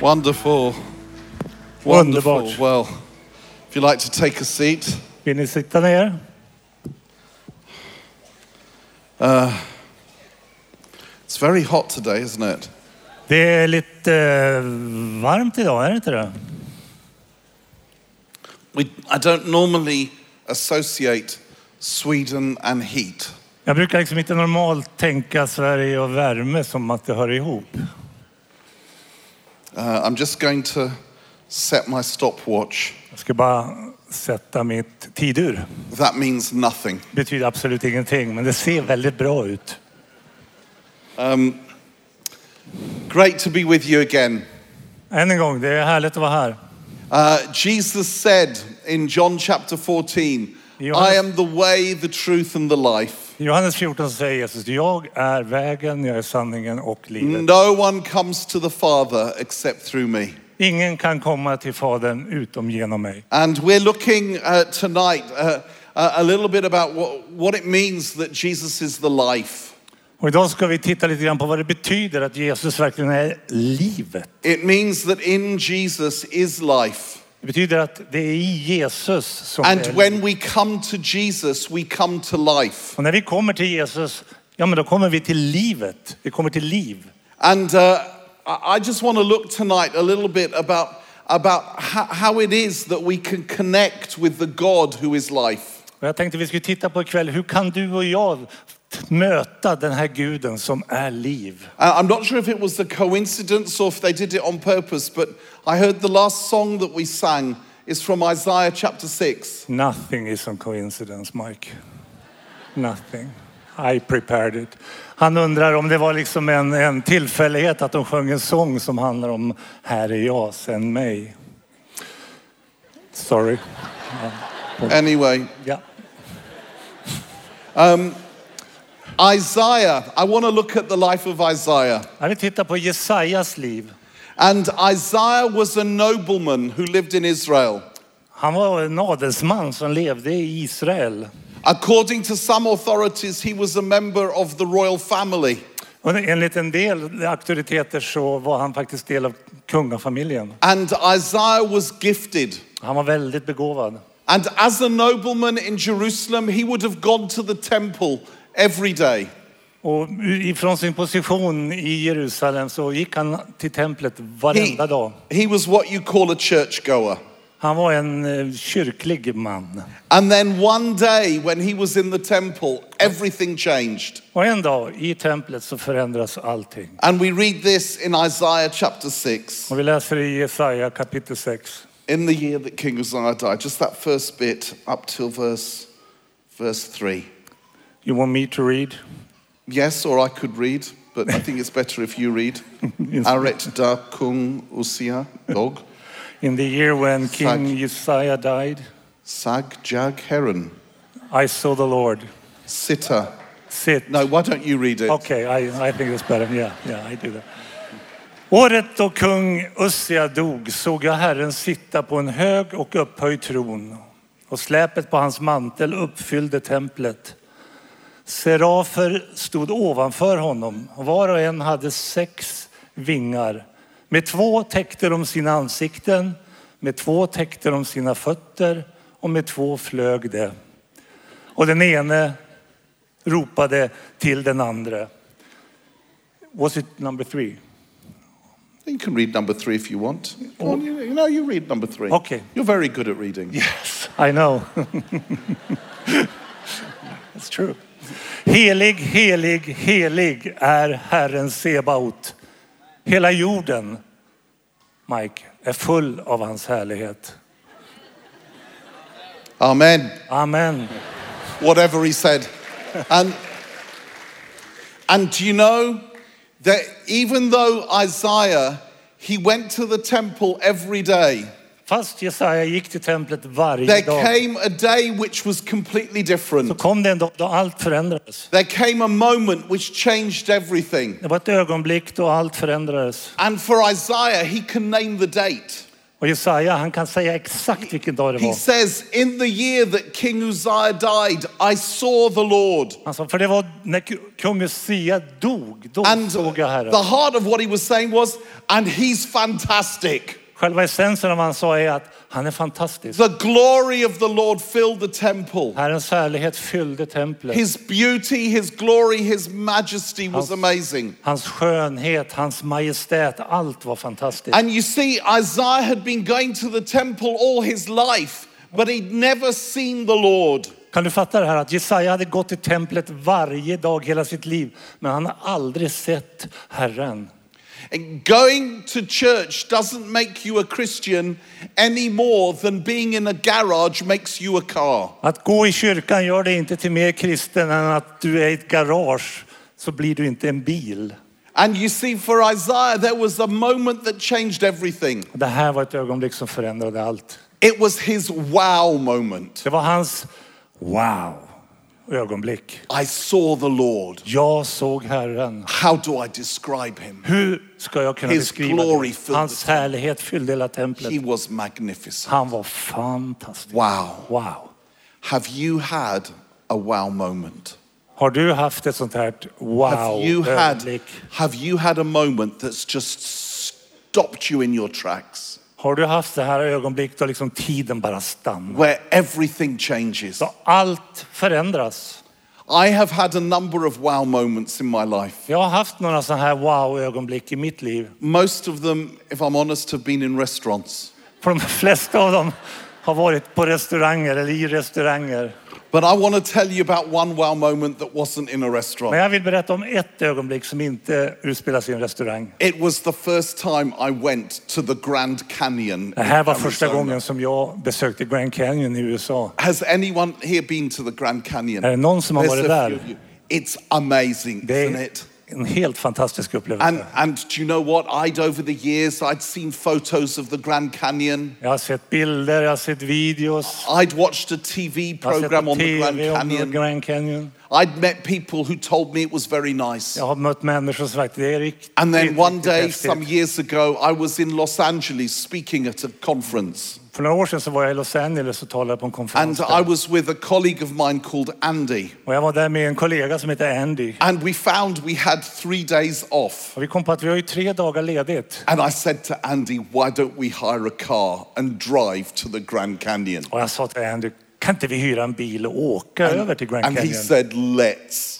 Wonderful. Wonderful. Underbart. Well, if you'd like to take a seat, Vill ni sitta ner? it's very hot today, isn't it? Det är lite eh, varmt idag, är det inte det? We, I don't normally associate Sweden and heat, Jag brukar liksom inte normalt tänka Sverige och värme som att det hör ihop. Uh, I'm just going to set my stopwatch. Jag ska bara sätta mitt tidur. That means nothing. Det betyder absolut ingenting, men det ser väldigt bra ut. Great to be with you again. Än en gång, det är härligt att vara här. Uh, Jesus said in John chapter 14, Johannes- I am the way, the truth, and the life. I Johannes 14 så säger Jesus, jag är vägen, jag är sanningen och livet. No one comes to the Father except through me. Ingen kan komma till Fadern utom genom mig. And we're looking uh, tonight uh, uh, a little bit about what, what it means that Jesus is the life. Och idag ska vi titta lite grann på vad det betyder att Jesus verkligen är livet. It means that in Jesus is life. Det betyder att det är i Jesus som det And är when we come to Jesus, we come to life. Och när vi kommer till Jesus, ja men då kommer vi till livet. Vi kommer till liv. And uh, I I just want to look tonight a little bit about, about how, how it is that we can connect with the God who is life. Och jag tänkte vi skulle titta på ikväll, hur kan du och jag t- möta den här guden som är liv? Uh, I'm not sure if it was a coincidence or if they did it on purpose, but I heard the last song that we sang is from Isaiah chapter 6. Nothing is a coincidence, Mike. Nothing. I prepared it. Han undrar om det var liksom en, en tillfällighet att de sjöng en sång som handlar om Här är jag, sen mig. Sorry. Anyway, Ja. Isaiah, I want to look at the life of Isaiah. Jag vill titta på Jesajas liv. And Isaiah was a nobleman who lived in Israel. Han var en adelsman som levde i Israel. According to some authorities, he was a member of the royal family. Och enligt en del auktoriteter så var han faktiskt del av kungafamiljen. And Isaiah was gifted. Han var väldigt begåvad. And as a nobleman in Jerusalem, he would have gone to the temple every day. Och ifrån sin position i Jerusalem så gick han till templet varenda dag. he was what you call a churchgoer. Han var en eh, kyrklig man. And then one day, when he was in the temple, everything changed. Och en dag i templet så förändras allting. And we read this in Isaiah chapter 6, Och vi läser i Jesaja kapitel 6. in the year that King Uzziah died, just that first bit up till verse, verse 3. You want me to read? Yes, or I could read, but I think it's better if you read. Yes. Aret da kung usia dog In the year when King Tack. Jesaja died sag jag heron I saw the Lord sitta. sit No, why don't you read it? Okej, I, I think it's better. Yeah, yeah, I do that. Året då kung Ussia dog såg jag Herren sitta på en hög och upphöjd tron och släpet på hans mantel uppfyllde templet. Serafer stod ovanför honom och var och en hade sex vingar. Med två täckte de sina ansikten, med två täckte de sina fötter och med två flög de. Och den ene ropade till den andra. Was it number three? You can read number three if you want. Go on, you, you know, you read number three. Okay. You're very good at reading. Yes, I know. It's true. Helig, helig, helig är Herren Sebaot. Hela jorden, Mike, är full av hans härlighet. Amen. Amen. Whatever he said. And, and do you know that even though Isaiah, he went to the temple every day, Fast Jesaja gick till templet varje there dag came a day which was completely så different. kom det en dag då allt förändrades. There came a moment which changed everything. Det var ett ögonblick då allt förändrades. And for Isaiah, he can name the date. Och Jesaja, han kan säga exakt vilken dag det He var. says, In the year that King Uzziah died, I saw the Lord. Han sa, för det var när kung Usia dog, då And såg jag Herren. the heart of what he was saying was, And he's fantastic. Själva essensen av vad han sa är att han är fantastisk. The glory of the Lord filled the temple. Herrens härlighet fyllde templet. His beauty, his glory, his majesty was Hans- amazing. Hans skönhet, hans majestät, allt var fantastiskt. And you see, Isaiah had been going to the temple all his life, but he'd never seen the Lord. Kan du fatta det här att Jesaja hade gått till templet varje dag hela sitt liv, men han har aldrig sett Herren. And going to church doesn't make you a Christian any more than being in a garage makes you a car. Att gå i kyrkan gör dig inte till mer kristen än att du är i ett garage så blir du inte en bil. And you see, for Isaiah, there was a moment that changed everything. Det här var ett ögonblick som förändrade allt. It was his wow moment. Det var hans wow ögonblick. I saw the Lord. Jag såg Herren. How do I describe him? Hur ska jag kunna His beskriva glory det? filled Hans härlighet fyllde hela templet. He was magnificent. Han var fantastisk. Wow. Wow. Have you had a wow moment? Har du haft ett sånt här Have you had wow-ögonblick? have you had a moment that's just stopped you in your tracks Har du haft det här ögonblick då liksom tiden bara stannar? where everything changes? Då allt förändras. I have had a number of wow moments in my life. Jag har haft några sådana här wow-ögonblick i mitt liv. Most of them, if I'm honest, have been in restaurants. För de flesta av dem har varit på restauranger eller i restauranger. But I want to tell you about one wow moment that wasn't in a Men restaurant. jag vill berätta om ett ögonblick som inte utspelas i en restaurang. It was the first time I went to the Grand Canyon. Det in här var första Arizona. gången som jag besökte Grand Canyon i USA. Has anyone here been to the Grand Canyon? Är det någon som har There's varit a few där? of you. It's amazing, Det isn't är it? en helt fantastisk And, upplevelse. and do you know what? I'd over the years, I'd seen photos of the Grand Canyon. Jag har sett bilder, jag har sett videos, I'd watched a TV jag har sett program på on the Grand TV om Canyon. Grand Canyon. I'd met people who told me it was very nice. Jag har mött människor som sagt, det är riktigt, And then one riktigt day, häftigt. some years ago, I was in Los Angeles speaking at a conference. För några år sedan så var jag i Los Angeles och talade på en konferens. And I där. was with a colleague of mine called Andy. Och jag var där med en kollega som heter Andy. And we found we had three days off. Och vi kom på att vi har ju tre dagar ledigt. And I said to Andy, why don't we hire a car and drive to the Grand Canyon? Och jag sa till Andy, kan inte vi hyra en bil och åka över till Grand And he Canyon? said, let's.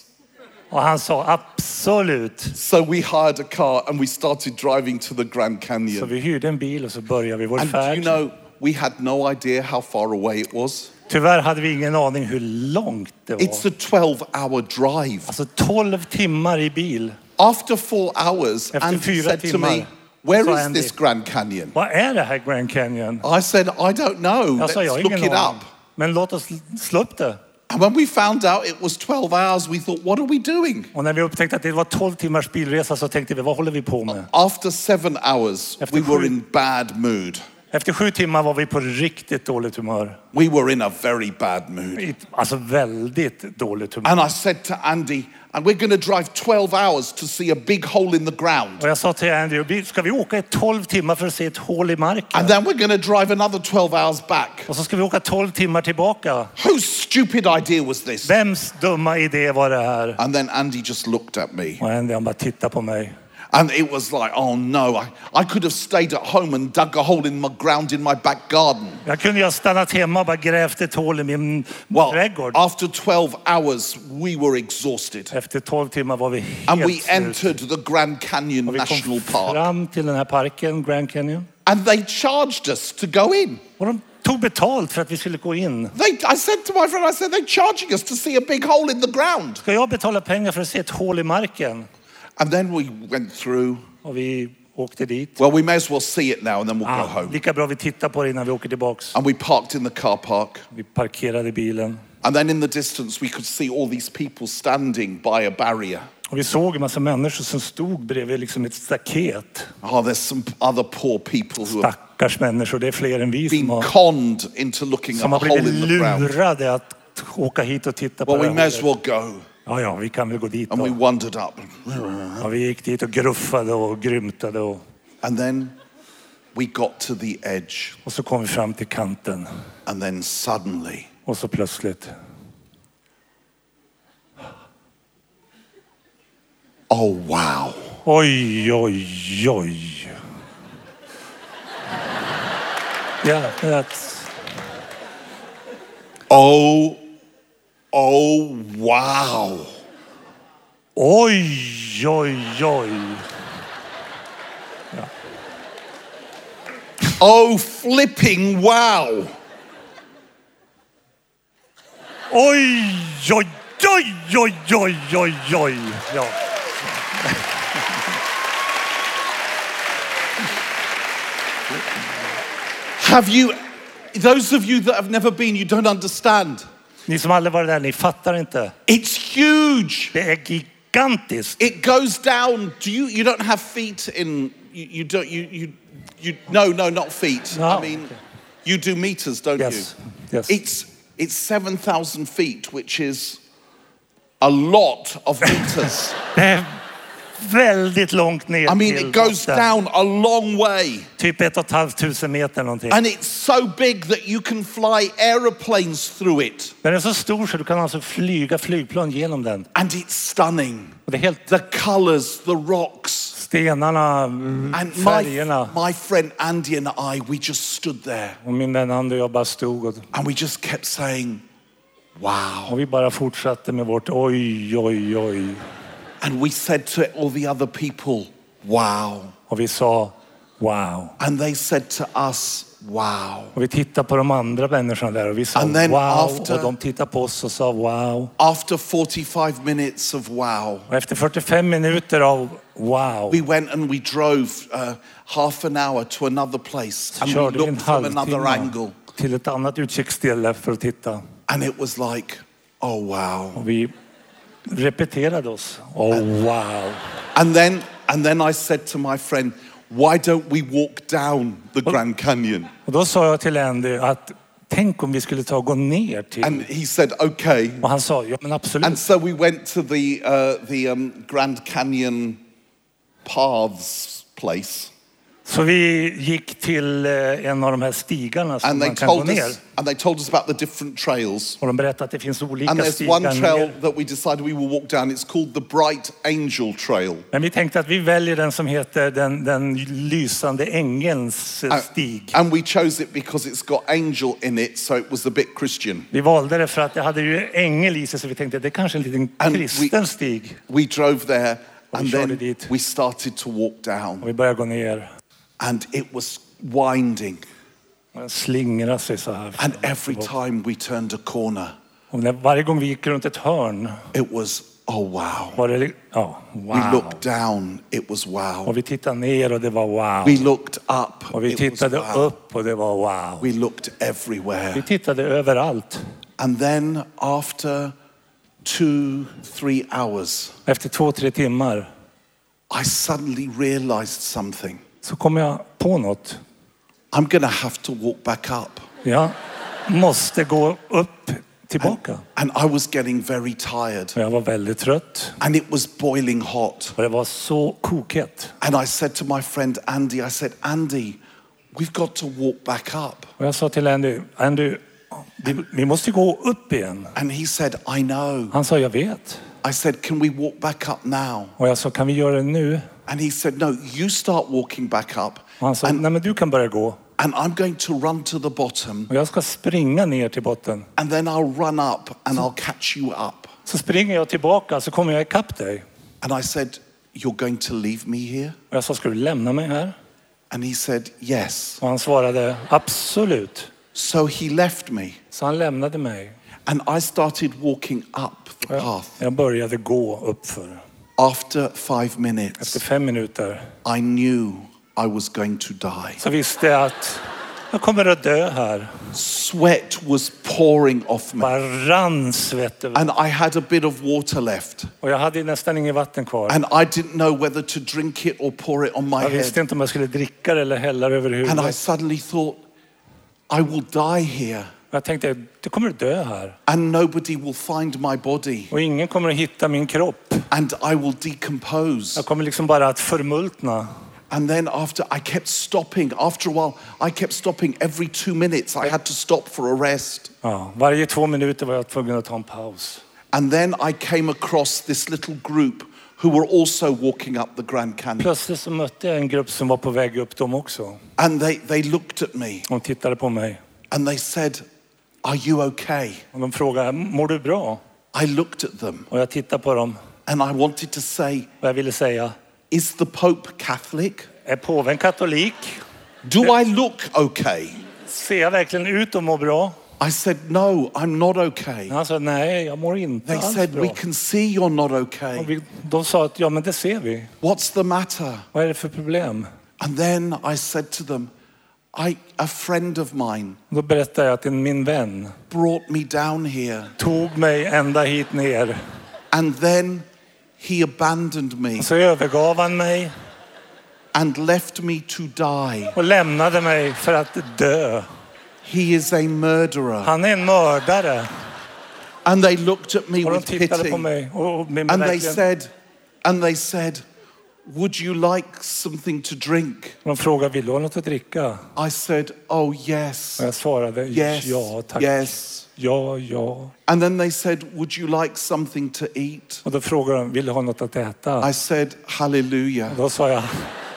Och han sa absolut. So we hired a car and we started driving to the Grand Så Canyon. vi hyrde en bil och så började vi vår And do färd. you know, we had no idea how far away it was. Tyvärr hade vi ingen aning hur långt det var. It's a 12 hour drive. Alltså 12 timmar i bil. After four hours, Efter Andy fyra said to me, timmar Where sa is Andy- this Grand Canyon? Vad är det här Grand Canyon? I said, I don't know. Jag Let's sa, jag har look ingen it aning. up. Men låt oss slå upp det. And when we found out it was 12 hours, we thought, What are we doing? Och när vi upptäckte att det var 12 timmars bilresa så tänkte vi, vad håller vi på med? After seven hours, Efter we were sju- in bad mood. Efter sju timmar var vi på riktigt dåligt humör. We were in a very bad mood. I- Alltså väldigt dåligt humör. And I said to Andy, and we're going to drive 12 hours to see a big hole in the ground. Och jag sa till Andy, "Vi- ska vi åka i 12 timmar för att se ett hål i marken? And then we're going to drive another 12 hours back. Och så ska vi åka 12 timmar tillbaka. Whose stupid idea was this? Vems dumma idé var det här? And then Andy just looked at me. Och Andy han bara tittade på mig. And it was like, oh no, I, I could have stayed at home and dug a hole in my ground in my back garden. Jag kunde ju ha stannat hemma och bara grävt ett hål i min Well, trädgård. after 12 hours, we were exhausted. Efter 12 timmar var vi helt And we slut. entered the Grand Canyon Och vi National kom Park. fram till den här parken, Grand Canyon. And they charged us to go in. Och de tog betalt för att vi skulle gå in. They, I said to my friend, I said, they're charging us to see a big hole in the ground. Ska jag betala pengar för att se ett hål i marken? And then we went through. Och vi åkte dit. Well, we may as well see it now and then we'll go Ah, home. lika bra vi tittar på det innan vi åker tillbaks. And we parked in the car park. Vi parkerade bilen. And then in the distance, we could see all these people standing by a barrier. Och vi såg en massa människor som stod bredvid liksom ett staket. Oh, there's some other poor people who have Stackars människor, det är fler än vi been som har, conned into looking at som a har hole blivit in the ground. lurade att åka hit och titta på Well, det we här may as hålet. well go. Ja, ja, vi kan väl gå dit And we då. wandered up. Ja, vi gick dit och gruffade och grymtade. Och... And then We got to the edge, Och så kom vi fram till kanten and then suddenly och så plötsligt, Oh, wow. oj, oj, oj. Ja, that's, Oh, oh, wow. oj, oj, oj. Oh, flipping wow. Oj, oj, oj, oj, oj, oj, oj. Ja. Have you, those of you that have never been, you don't understand. Ni som aldrig varit där, ni fattar inte. It's huge. Det är gigantiskt. It goes down. Do you, you don't have feet in, you, you don't, you, you, you, no, no, not feet. No. I mean, you do meters, don't Yes, you? yes. It's, it's 7,000 feet, which is a lot of meters. Det är väldigt långt ner I mean, till it goes botten. down a long way. Typ ett och ett halvt tusen meter någonting. And it's so big that you can fly aeroplanes through it. Den är så stor så du kan alltså flyga flygplan genom den. And it's stunning. Och det är helt The colors, the rocks. stenarna, And my, Mm. färgerna. my friend Andy and I, we just stood there Och min vän Andy och jag bara stod och, and we just kept saying, wow. och vi bara fortsatte med vårt oj, oj, oj. And we said to all the other people, wow. Och vi sa wow. And they said to us, wow. Och vi tittade på de andra människorna där och vi sa And then wow. after- Och de tittade på oss och sa wow. After 45 minutes of wow, Och efter 45 minuter av wow we went and we drove uh, half an hour to another place and we körde vi en looked from another halvtimme angle. till ett annat utkiksställe för att titta. And it was like, oh, wow. Och vi repeterade oss. Oh wow. And then, and then I said to my friend, why don't we walk down the Grand Canyon? Och då sa jag till Andy att tänk om vi skulle ta och gå ner till... And he said, okay. Och han sa ja men absolut. And so we went to the, uh, the um, Grand Canyon Paths place. Så vi gick till eh, en av de här stigarna som And they, man kan gå told ner. us, and they told us about the different trails. Och de berättade att det finns olika And there's one stigar trail ner. that we decided we will walk down. It's called the Bright Angel Trail. Men vi tänkte att vi väljer den som heter den, den lysande ängelns Ah. eh, stig. Uh, And we chose it because it's got angel in it, so it was a bit Christian. Vi valde det för att det hade ju ängel i sig så vi tänkte att det är kanske är en liten And we- kristen stig. We drove there Och vi and körde then dit. we started to walk down Och vi började gå ner. and it was winding. Och Den slingrade sig så här. And every time we turned a corner, Och när, varje gång vi gick runt ett hörn it was, oh wow. var det... li- Ja, wow. We looked down, it was wow. Och vi tittade ner och det var wow. We looked up, och vi it was tittade wow. upp och det var wow. We looked Vi everywhere. tittade överallt. And then after two, three hours, Efter två, tre timmar I suddenly realized something. så kom jag på något. I'm going to have to walk back up. Jag måste gå upp tillbaka. And I was getting very tired. Och jag var väldigt trött. And it was boiling hot. Och det var så kokhett. And I said to my friend Andy, I said, Andy, we've got to walk back up. Och jag sa till Andy, Andy, vi, vi måste gå upp igen. And he said, I know. Han sa, jag vet. I said, can we walk back up now? Och jag sa, kan vi göra det nu? And he said, no, you start walking back up. Och han sa, nej men du kan börja gå. And I'm going to run to the bottom. Och jag ska springa ner till botten. And then I'll run up and I'll catch you up. Så springer jag tillbaka så kommer jag ikapp dig. And I said, you're going to leave me here? Och jag sa, ska du lämna mig här? And he said, yes. Och han svarade, absolut. So he left me. Så han lämnade mig. And I started walking up the Jag, path. jag började gå uppför. After five Efter minutes, fem minuter I knew I was going to die. så visste jag att jag kommer att dö här. Sweat was pouring off me. Bara rann svett över. And I had a bit of water left. Och jag hade ju nästan inget vatten kvar. And I didn't know whether to drink it or pour it on my Jag head. visste inte om jag skulle dricka det eller hälla det över And I huvudet. suddenly thought, I will die here Jag tänkte, du kommer att dö här. and nobody will find my body Och ingen kommer att hitta min kropp. and I will decompose. Jag kommer liksom bara att förmultna. And then after, I kept stopping. After a while, I kept stopping every two minutes. I had to stop for a rest. Ja, varje två minuter var jag tvungen att ta en paus. And then I came across this little group who were also walking up the Grand Canyon. Plötsligt så mötte jag en grupp som var på väg upp de också. And they, they looked at me De tittade på mig and they said, Are you okay? och de frågade, mår du bra? I looked at them Och jag tittade på dem and I wanted to say, och jag ville säga, Is the Pope Catholic? är påven katolik? Do I look okay? Ser jag verkligen ut att må bra? I said, No, I'm not okay. Han sa, nej, jag mår inte They alls said, We bra. can see you're not Och okay. vi, de sa att, ja men det ser vi. What's the matter? Vad är det för problem? And then I said to them, I, A friend of mine Då berättade jag att en- min vän brought me down here tog mig ända hit ner. and then he abandoned me. Så övergav han mig and left me to die. och lämnade mig för att dö. He is a murderer. Han är en mördare. And they looked at me Och de with tittade på pity. mig och, och med mig And they verkligen. said, and they said, would you like something to drink? De frågade, vill du ha något att dricka? I said, oh yes, Och jag svarade, yes, ja tack. yes. Ja, ja. And then they said, would you like something to eat? Och då frågade de, vill du ha något att äta? I said, hallelujah. Då sa jag,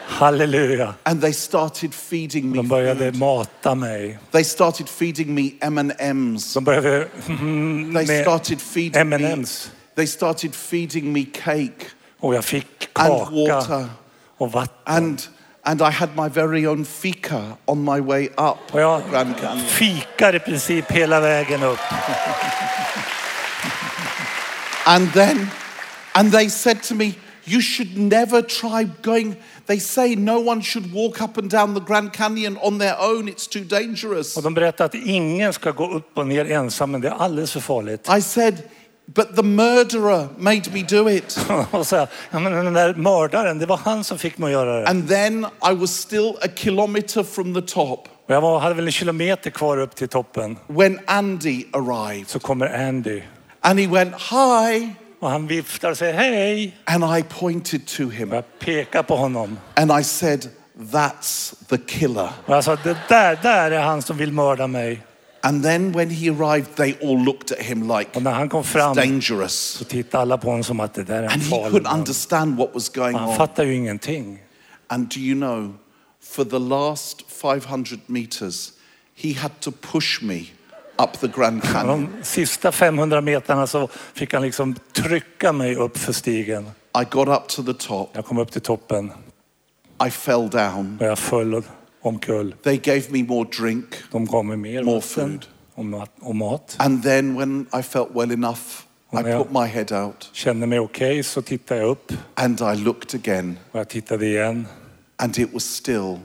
halleluja. And they started feeding me. De började Food. mata mig. They started feeding me M&Ms. De började They med started feeding me. M&M's. They started feeding me cake Och jag fick and water. kaka och vatten. And and I had my very own fika on my way up Och jag Grand Canyon. fikar i princip hela vägen upp. And then and they said to me, you should never try going. They say no one should walk up and down the Grand Canyon on their own. It's too dangerous. Och de berättade att ingen ska gå upp och ner ensam, men det är alldeles för farligt. I said, but the murderer made me do it. Och så, här, ja, men den där mördaren, det var han som fick mig att göra det. And then I was still a kilometer from the top Och jag var, hade väl en kilometer kvar upp till toppen. when Andy arrived. Så kommer Andy And he went, hi. och han viftar och säger hej. And I pointed to him Och jag pekar på honom. and I said, that's the killer. Och jag sa, det där, där är han som vill mörda mig. And then when he arrived, they all looked at him like Och när han kom fram dangerous. så tittade alla på honom som att det där är en And he farlig couldn't man. understand what was going Han on. fattar ju ingenting. And do you know, for the last 500 meters, he had to push me up the Grand Men Canyon. de sista 500 metrarna så fick han liksom trycka mig upp för stigen. I got up to the top. Jag kom upp till toppen I fell down. och jag föll omkull. They gave me more drink. De gav mig mer More vatten food. och mat, och mat. And then when I felt well enough, I Oh, yeah. put my head out Kände mig okej så tittade jag upp and I looked again. och jag tittade igen. And it was still,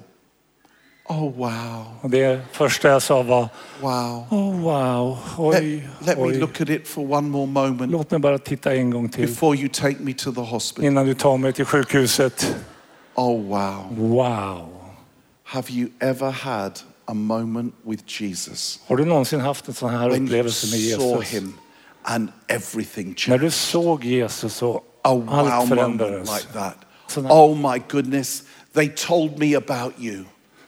oh, wow, Och det första jag sa var wow. Oh wow, Let, oj, let me oj. look at it for one more moment. Låt mig bara titta en gång till before you take me to the hospital. innan du tar mig till sjukhuset. Oh, wow. Wow. Have you ever had a moment with Jesus? Har du någonsin haft en sån här When you upplevelse med saw Jesus? him and everything När changed. du såg Jesus och A Oh, wow moment allt förändrades. like that. So now- Oh, my goodness. They told me about you.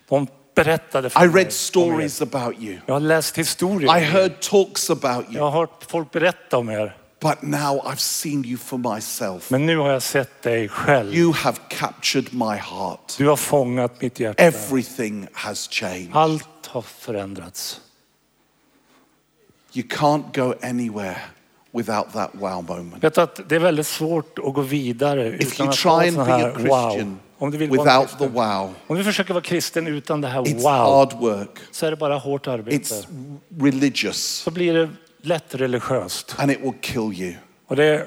De berättade för I mig. om er. read stories about you. Jag har läst historier. I heard talks about Jag you. har hört folk berätta om er. But now I've seen you for myself. Men nu har jag sett dig själv. You have captured my heart. Du har fångat mitt hjärta. Everything has changed. Allt har förändrats. You can't go anywhere without that wow moment. Vet du att det är väldigt svårt att gå vidare If utan you att ha try and sån be a här Christian wow. Om du, vill vara en without the kristen, wow, om du försöker vara kristen utan det här it's wow hard work. så är det bara hårt arbete. It's religious Så blir det lätt religiöst. and it will kill you. Och det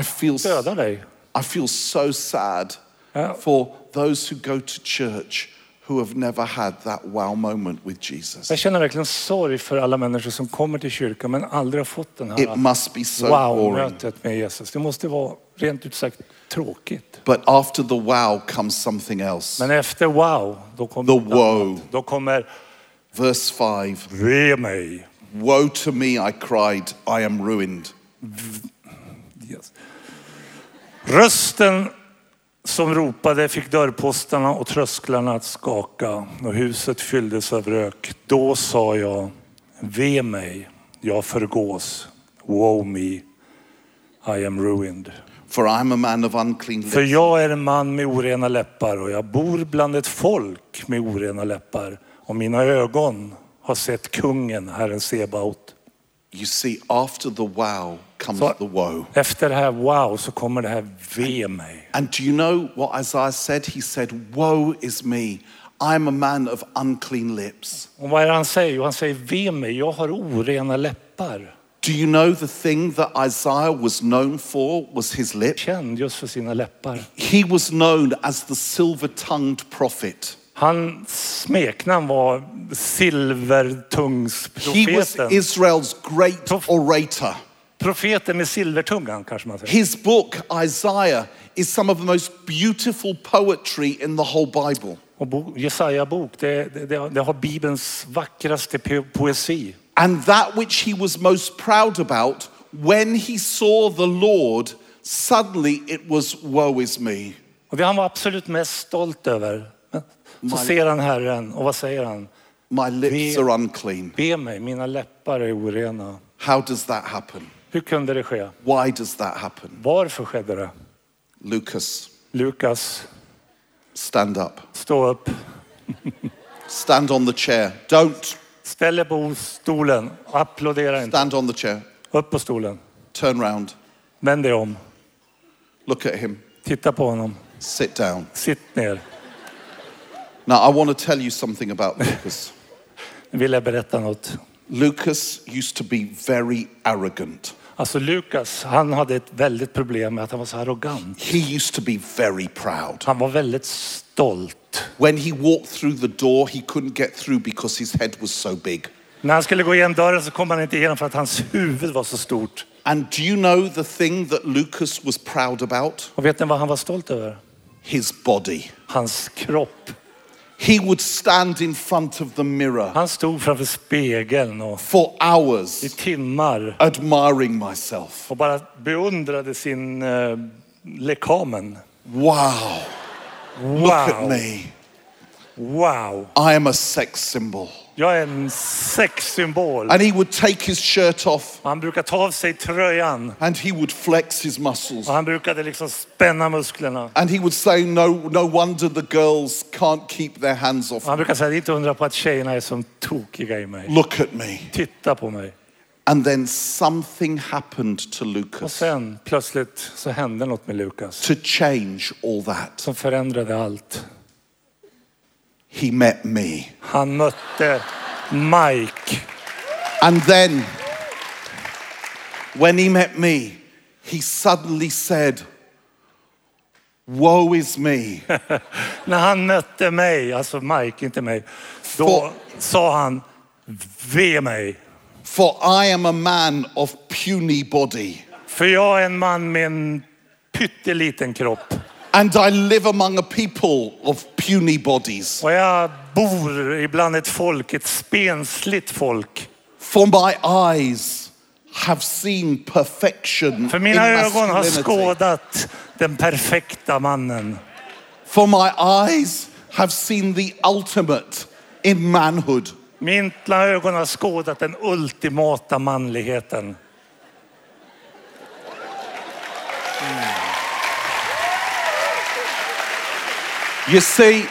I feel, dödar dig. I feel so sad Yeah. for those who go to church who have never had that wow moment with Jesus. Jag känner verkligen sorg för alla människor som kommer till kyrkan men aldrig har fått den It här must be so boring. wow-mötet med Jesus. Det måste vara rent ut sagt tråkigt. But after the wow comes something else. Men efter wow, då kommer The något annat. woe. Då kommer Verse 5 ve mig. Woe to me, I cried, I am ruined. Yes. Rösten som ropade fick dörrpostarna och trösklarna att skaka och huset fylldes av rök. Då sa jag, ve mig, jag förgås. Woe me, I am ruined. for I'm a man of unclean lips. För jag är en man med orena läppar och jag bor bland ett folk med orena läppar och mina ögon har sett kungen, Herren Sebaot. You see, after the wow comes So- the woe. Efter det här wow så kommer det här ve mig. And do you know what Isaiah said? He said, Woe is me. I'm a man of unclean lips. Och vad är det han säger? Jo, han säger ve mig, jag har orena läppar. Do you know the thing that Isaiah was known for was his lips? Känd just för sina läppar. He was known as the silver tongued prophet. Hans smeknamn var He was silvertungsprofeten. Israel's great Prof- orator. Profeten med silvertungan kanske man säger. His book, Isaiah, is some of the most beautiful poetry in the whole Bible. Och bo, Jesaja bok, det, det, det, har- det har Bibelns vackraste po- poesi. And that which he was most proud about, when he saw the Lord, suddenly it was, Woe is me. Och det han var absolut mest stolt över. Men Så Man- ser han Herren och vad säger han? My lips Ve- are unclean. Be mig, mina läppar är orena. How does that happen? Hur kunde det ske? Why does that happen? Varför skedde det? Lucas, Lukas, stand up. stå upp. Stand on the chair. Don't Ställ er på stolen. Applådera inte. stand on the chair. Upp på stolen. Turn round. Vänd dig om. Look at him. Titta på honom. Sit down. Sitt ner. Now, I want to tell you something about Lucas. Nu vill jag berätta något. Lucas used to be very arrogant. Alltså Lukas, han hade ett väldigt problem med att han var så arrogant. He used to be very proud. Han var väldigt stolt. When he walked through the door, he couldn't get through because his head was so big. När han skulle gå igenom dörren så kom han inte igenom för att hans huvud var så stort. And do you know the thing that Lucas was proud about? Och vet ni vad han var stolt över? His body. Hans kropp. He would stand in front of the mirror Han stod framför spegeln och for i hours timmar admiring myself. och bara beundrade sin eh, lekamen. Wow, look at Wow! me. Wow! I am a sex symbol. Jag är en sexsymbol. And he would take his shirt off Han brukar ta av sig tröjan and he would flex his muscles. och han brukade liksom spänna musklerna. And he would say, No, no wonder the girls can't keep their hands off. Och Han brukar säga, det är inte undra på att tjejerna är som tokiga i mig. Look at me. Titta på mig. And then something happened to Och Lucas sen plötsligt så hände något med Lukas to change all that. som förändrade allt. He met me. Han mötte Mike. And then, when he met me, he suddenly said, Woe is me, När han mötte mig, alltså Mike, inte mig, då Få- sa han ve mig. for I am a man of puny body, För jag är en man med en pytteliten kropp and I live among a people of puny bodies. och jag bor ibland ett folk, ett spensligt folk. For my eyes have seen perfection För in mina ögon har masculinity. skådat den perfekta mannen. For my eyes have seen the ultimate in manhood. Mina ögon har skådat den ultimata manligheten. You see,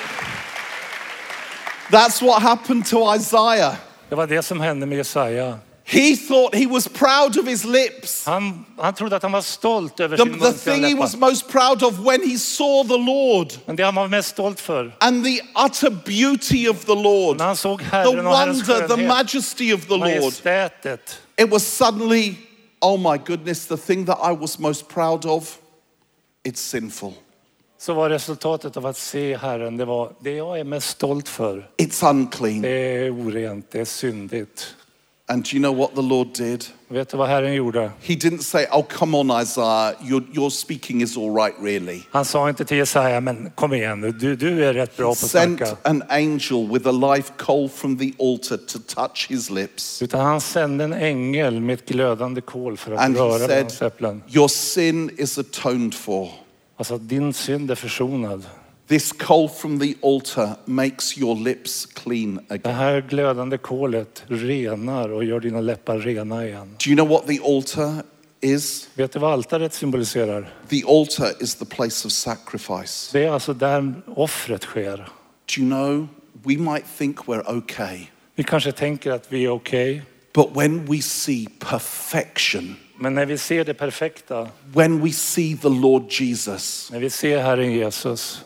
that's what happened to Isaiah. Det var det som hände med Jesaja. He thought he was proud of his lips. Han, han trodde att han var stolt över The, sin the muntliga thing he läppar. was most proud of when he saw the Lord Men det han var mest stolt för, and the utter beauty of the Lord, när the han såg Herren och Herrens wonder, the skönhet, majesty of the Lord, majestätet. it was suddenly, oh my goodness, the thing that I was most proud of, it's sinful. Så var resultatet av att se Herren, det var det jag är mest stolt för. It's unclean. Det är orent, det är syndigt. And do you know what the Lord did? Vet du vad Herren gjorde? He didn't say, oh, come on, Isaiah, your, your speaking is all right, really. Han sa inte till Jesaja, men kom igen nu, du, du är rätt bra på att Sent snacka. an angel with a live coal from the altar to touch his lips. Utan han sände en ängel med ett glödande kol för att And he röra vid said- hans äpplen. Your sin is atoned for. Alltså att din synd är försonad. This coal from the altar makes your lips clean Det again. här glödande kolet renar och gör dina läppar rena igen. Do you know what the altar is? Vet du vad altaret symboliserar? The altar is the place of sacrifice. Det är alltså där offret sker. Do you know? We might think we're okay, Vi kanske tänker att vi är okej, but when we see perfection, men när vi ser det perfekta, when we see the Lord Jesus, när vi ser Herren Jesus,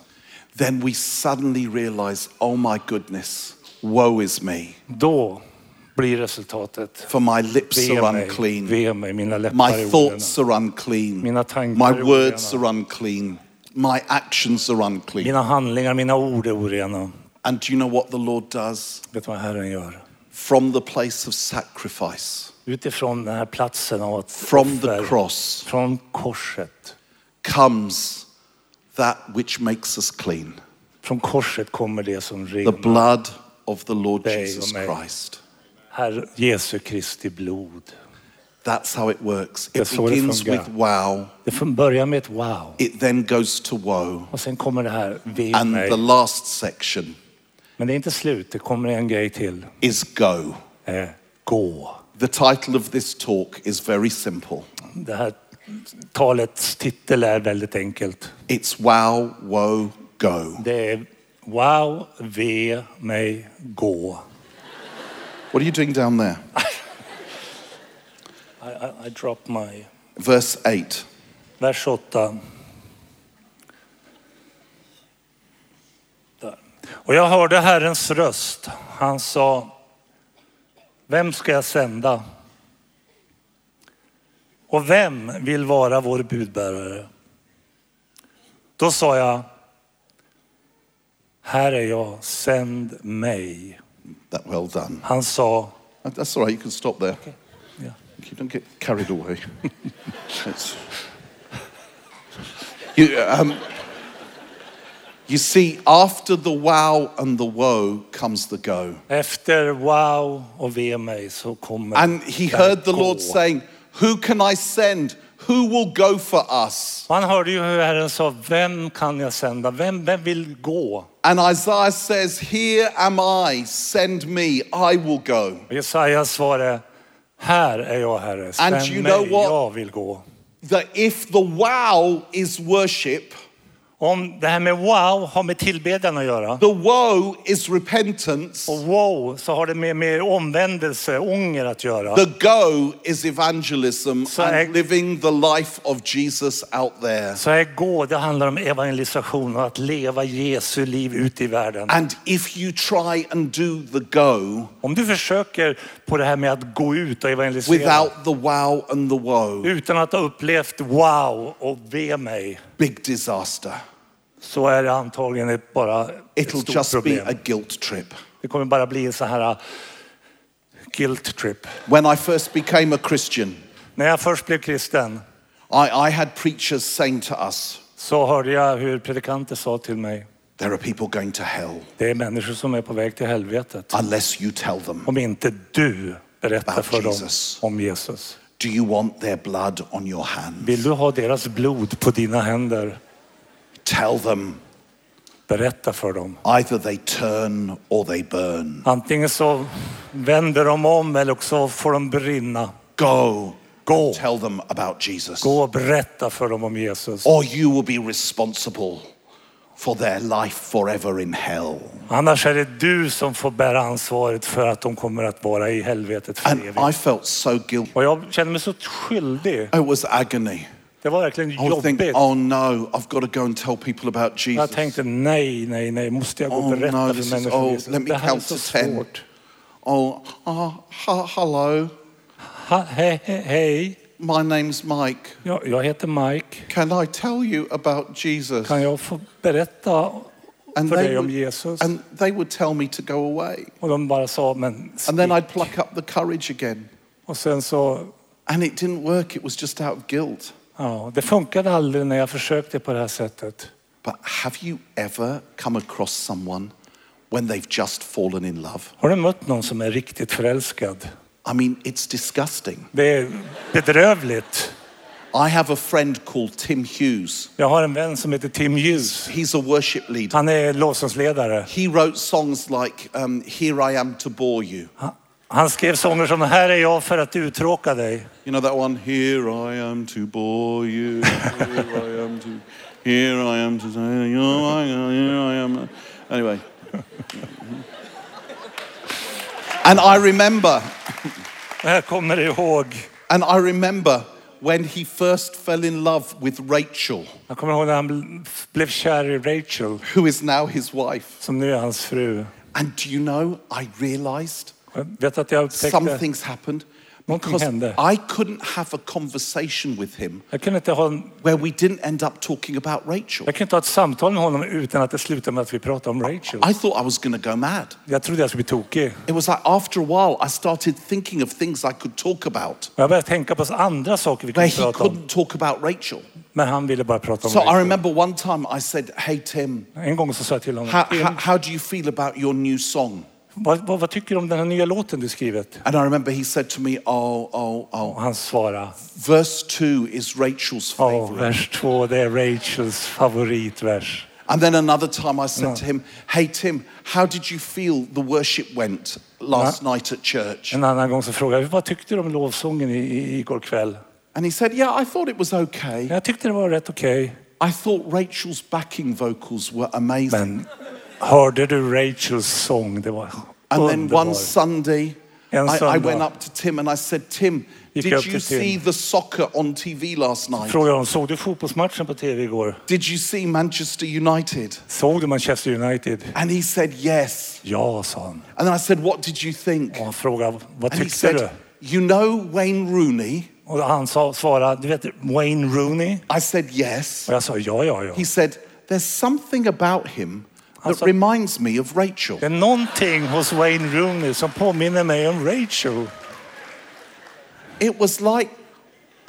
then we suddenly realize, oh my goodness, woe is me, då blir resultatet for my lips ve are mig, unclean, ve mig, mina my läppar är orena. thoughts are unclean, Mina tankar my är words orena. are unclean, my actions are unclean. Mina handlingar, mina ord är orena. And do you know what the Lord does? Vet du vad Herren gör? From the place of sacrifice, Utifrån den här platsen av att from the offer, cross, från korset, comes that which makes us clean från korset kommer det som the renar. blood of the Lord There you Jesus go, mate. Christ. Herre Jesu Kristi blod. That's how it works. It Yes, so it begins from God. with wow, Det får börja med ett wow. it then goes to woe. Och sen kommer det här, ve And mig. the last section Men det är inte slut, det kommer en grej till. is go. Eh, gå. The title of this talk is very simple Det här talets titel är väldigt enkelt. it's wow, woe, go. Det är Wow, ve mig, gå. What are you doing down there? I, I, I drop my... Verse 8. Vers 8. Där. Och jag hörde Herrens röst. Han sa, vem ska jag sända? Och vem vill vara vår budbärare? Då sa jag, här är jag, sänd mig. That well done. Uh, Han sa, That's all right, you can stop there. ja. You don't get carried away. It's- you, um, you see, after the wow and the woe comes the go. efter wow och ve mig så kommer And he där heard the gå. Lord saying, Who can I send? Who will go for us? Och Han hörde ju hur Herren sa, vem kan jag sända? Vem, vem vill gå? And Isaiah says, Here am I, send me, I will go. Och Jesajas svar är, här är jag Herre, sänd And you mig, know what? jag vill gå. That if the wow is worship, Om det här med wow har med tillbedjan att göra, the woe is repentance, och wow så har det med, med omvändelse, ånger att göra. The go is evangelism So and I- living the life of Jesus out there. Så här gå, det handlar om evangelisation och att leva Jesu liv ut i världen. And if you try and do the go Om du försöker på det här med att gå ut och evangelisera without the wow and the woe, utan att ha upplevt wow och ve mig big disaster. så är det antagligen ett- bara ett It'll stort just be problem. a guilt trip. Det kommer bara bli en sån här uh, guilt trip. When I first became a Christian, När jag först blev kristen I, I had preachers saying to us, så hörde jag hur predikanter sa till mig, There are people going to hell det är människor som är på väg till helvetet. unless you tell them. Om inte du berättar About för dem Jesus. om Jesus. Do you want their blood on your hand? Vill du ha deras blod på dina händer, Tell them berätta för dem. either they turn or they burn. Antingen så vänder de om eller så får de brinna. Go Gå, tell them about Jesus. gå och berätta för dem om Jesus. Or you will be responsible for their life forever in hell. Annars är det du som får bära ansvaret för att de kommer att vara i helvetet för evigt. And I felt so guilty. Och jag kände mig så skyldig. It was agony. Det var verkligen I would think, jobbigt. oh no, I've got to go and tell people about Jag Jesus. tänkte nej, nej, nej. Måste jag gå Oh, och berätta no, this för is- människor om oh, Jesus? let me Det här är count så to ten. svårt. Oh, ah, ha, hello, Ha, hej, hej, hej. my name's Mike. Ja, jag heter Mike. Can I tell you about Jesus? Kan jag få berätta And för they dig om would- Jesus? And they would tell me to go away. Och de bara sa, men... And then I'd pluck up the courage again. Och sen så... And it didn't work, it was just out of guilt. Ja, det funkade aldrig när jag försökte på det här sättet. But have you ever come across someone when they've just fallen in love? Har du mött någon som är riktigt förälskad? I mean, it's disgusting. Det är bedrövligt. I have a friend called Tim Hughes. Jag har en vän som heter Tim Hughes. He's a worship leader. Han är lovsångsledare. He wrote songs like um, Here I Am to Bore You. Han- Han skrev sånger som Här är jag för att uttråka dig. You know that one? Here I am to bore you. Here I am to. Here I am to say. Here I am. Here I am. uh, Anyway. And I remember, Och jag kommer ihåg, and I remember when he first fell in love with Rachel, jag kommer ihåg när han bl- blev kär i Rachel, who is now his wife. som nu är hans fru. And do you know, I realized Jag vet att jag upptäckte, something's happened Någonting because hände. I couldn't have a conversation with him jag kunde, inte ha, en- where we didn't end up talking about Rachel. jag kunde inte ha ett samtal med honom utan att det slutade med att vi pratade om Rachel. I thought I was going to go mad. Jag trodde jag skulle bli tokig. It was like after a while, I started thinking of things I could talk about Jag började tänka på andra saker vi where kunde he prata om, couldn't talk about Rachel. men han ville bara prata om So I Rachel. remember one time I said, Hey, Tim, En gång så sa jag till honom, how, how, how do you feel about your new song? vad, vad, vad tycker du om den här nya låten du skrivit? And I remember he said to me, Oh, oh, oh. Och han svarade, Verse two is Rachel's ja, favorite. vers två, det är Rachels favoritvers. And then another time I said No. to him, Hey, Tim, how did you feel the worship went last night at church? En annan gång så frågade jag, vad tyckte du om lovsången i, i, igår kväll? And he said, Yeah, I thought it was okay. Jag tyckte det var rätt okej. I thought Rachel's backing vocals were amazing. Men hörde du Rachels sång? Det var And then one underbar. Sunday, I, En I söndag. went up to Tim and I said, Tim, Gick did jag upp you till Tim. see the soccer on TV last night? Frågade hon, såg du fotbollsmatchen på tv igår? Did you see Manchester United? Såg du Manchester United? And he said, Yes. Ja, sa han. And then I said, What did you think? Och han frågade, vad And he tyckte du? said, You know Wayne Rooney? Och han sa, svarade, du vet Wayne Rooney? I said, Yes. Och jag sa, ja, ja, ja. He said, There's something about him that Alltså- reminds me of Rachel. Det är någonting hos Wayne Rooney som påminner mig om Rachel. It was like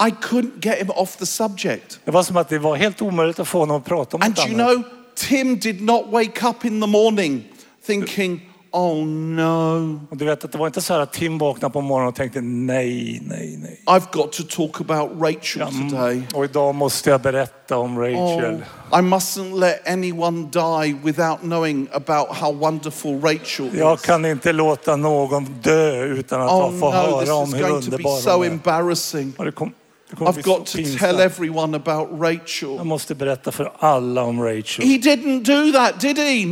I couldn't get him off the subject. Det var som att det var helt omöjligt att få honom att prata om And något you annat. know, Tim did not wake up in the morning thinking, oh no, Och du vet att det var inte så här att Tim vaknade på morgonen och tänkte nej, nej, nej. I've got to talk about Rachel today. Och idag måste jag berätta om Rachel. Oh, I mustn't let anyone die without knowing about how wonderful Rachel Jag is. kan inte låta någon dö utan att Oh oh, få no, this höra om is hur going to be underbar so hon är. embarrassing. Och det kom, det kommer I've bli got så to pinsamt. tell everyone about Jag Rachel. måste berätta för alla om Rachel. He didn't do that, did he? Det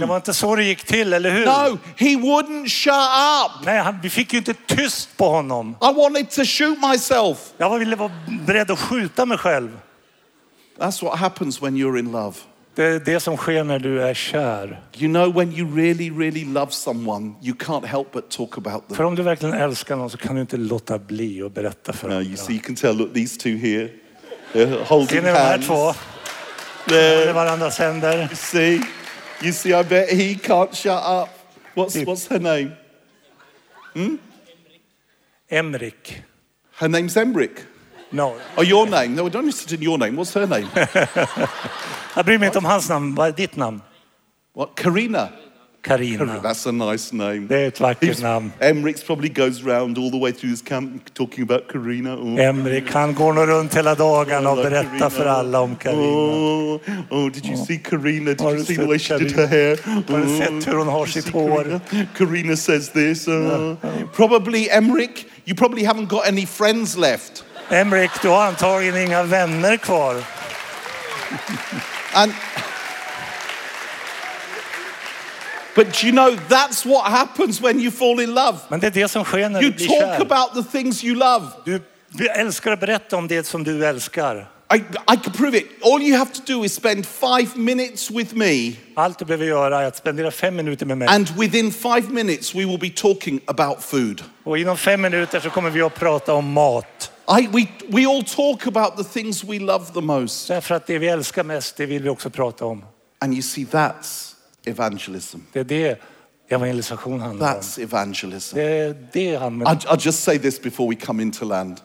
No. var inte så det gick till, eller hur? No, he wouldn't shut up. Nej, han, vi fick ju inte tyst på honom. I wanted to shoot myself. Jag var- ville vara beredd att skjuta mig själv. That's what happens when you're in love. Det är det som sker när du är kär. You know, when you really, really love someone, you can't help but talk about them. För om du verkligen älskar någon så kan du inte låta bli att berätta för Now, andra. Uh, you see, you can tell, look, these two here, they're holding Ser ni de här hands. två? Håller There, varandras händer. you see, you see, I bet he can't shut up. What's, Yep. what's her name? Emrik. Her name's Emric. No. Oh, your name? No, we're not interested in your name. What's her name? Jag bryr mig inte om hans namn. Vad är ditt namn? what? Karina. Karina. That's a nice name. Det är ett vackert namn. Emric's probably goes round all the way through this camp talking about Karina. Oh. Emrik, han går nog runt hela dagarna och Like berättar Karina. för alla om Karina. Oh, oh, did you see Karina? Did Har you du see the sett way she did Karina? her hair? du Oh, sett hur hon har did you sitt see hår? Karina? Karina says this. oh. Probably Emric. You probably haven't got any friends left. Emrik, du har antagligen inga vänner kvar. And But do you know that's what happens when you fall in love? Men det är det som sker när You du blir talk kär. about the things you love. Du, du älskar att berätta om det som du älskar. I, I can prove it. All you have to do is spend five minutes with me, Allt du behöver göra är att spendera fem minuter med mig. and within five minutes, we will be talking about food. Och inom fem minuter så kommer vi att prata om mat. I, we, we all talk about the things we love the most. Därför att det vi älskar mest, det vill vi också prata om. And you see, that's evangelism. Det är det evangelisation handlar om. That's evangelism. Det är det han menar. I'll, I'll just say this before we come into land.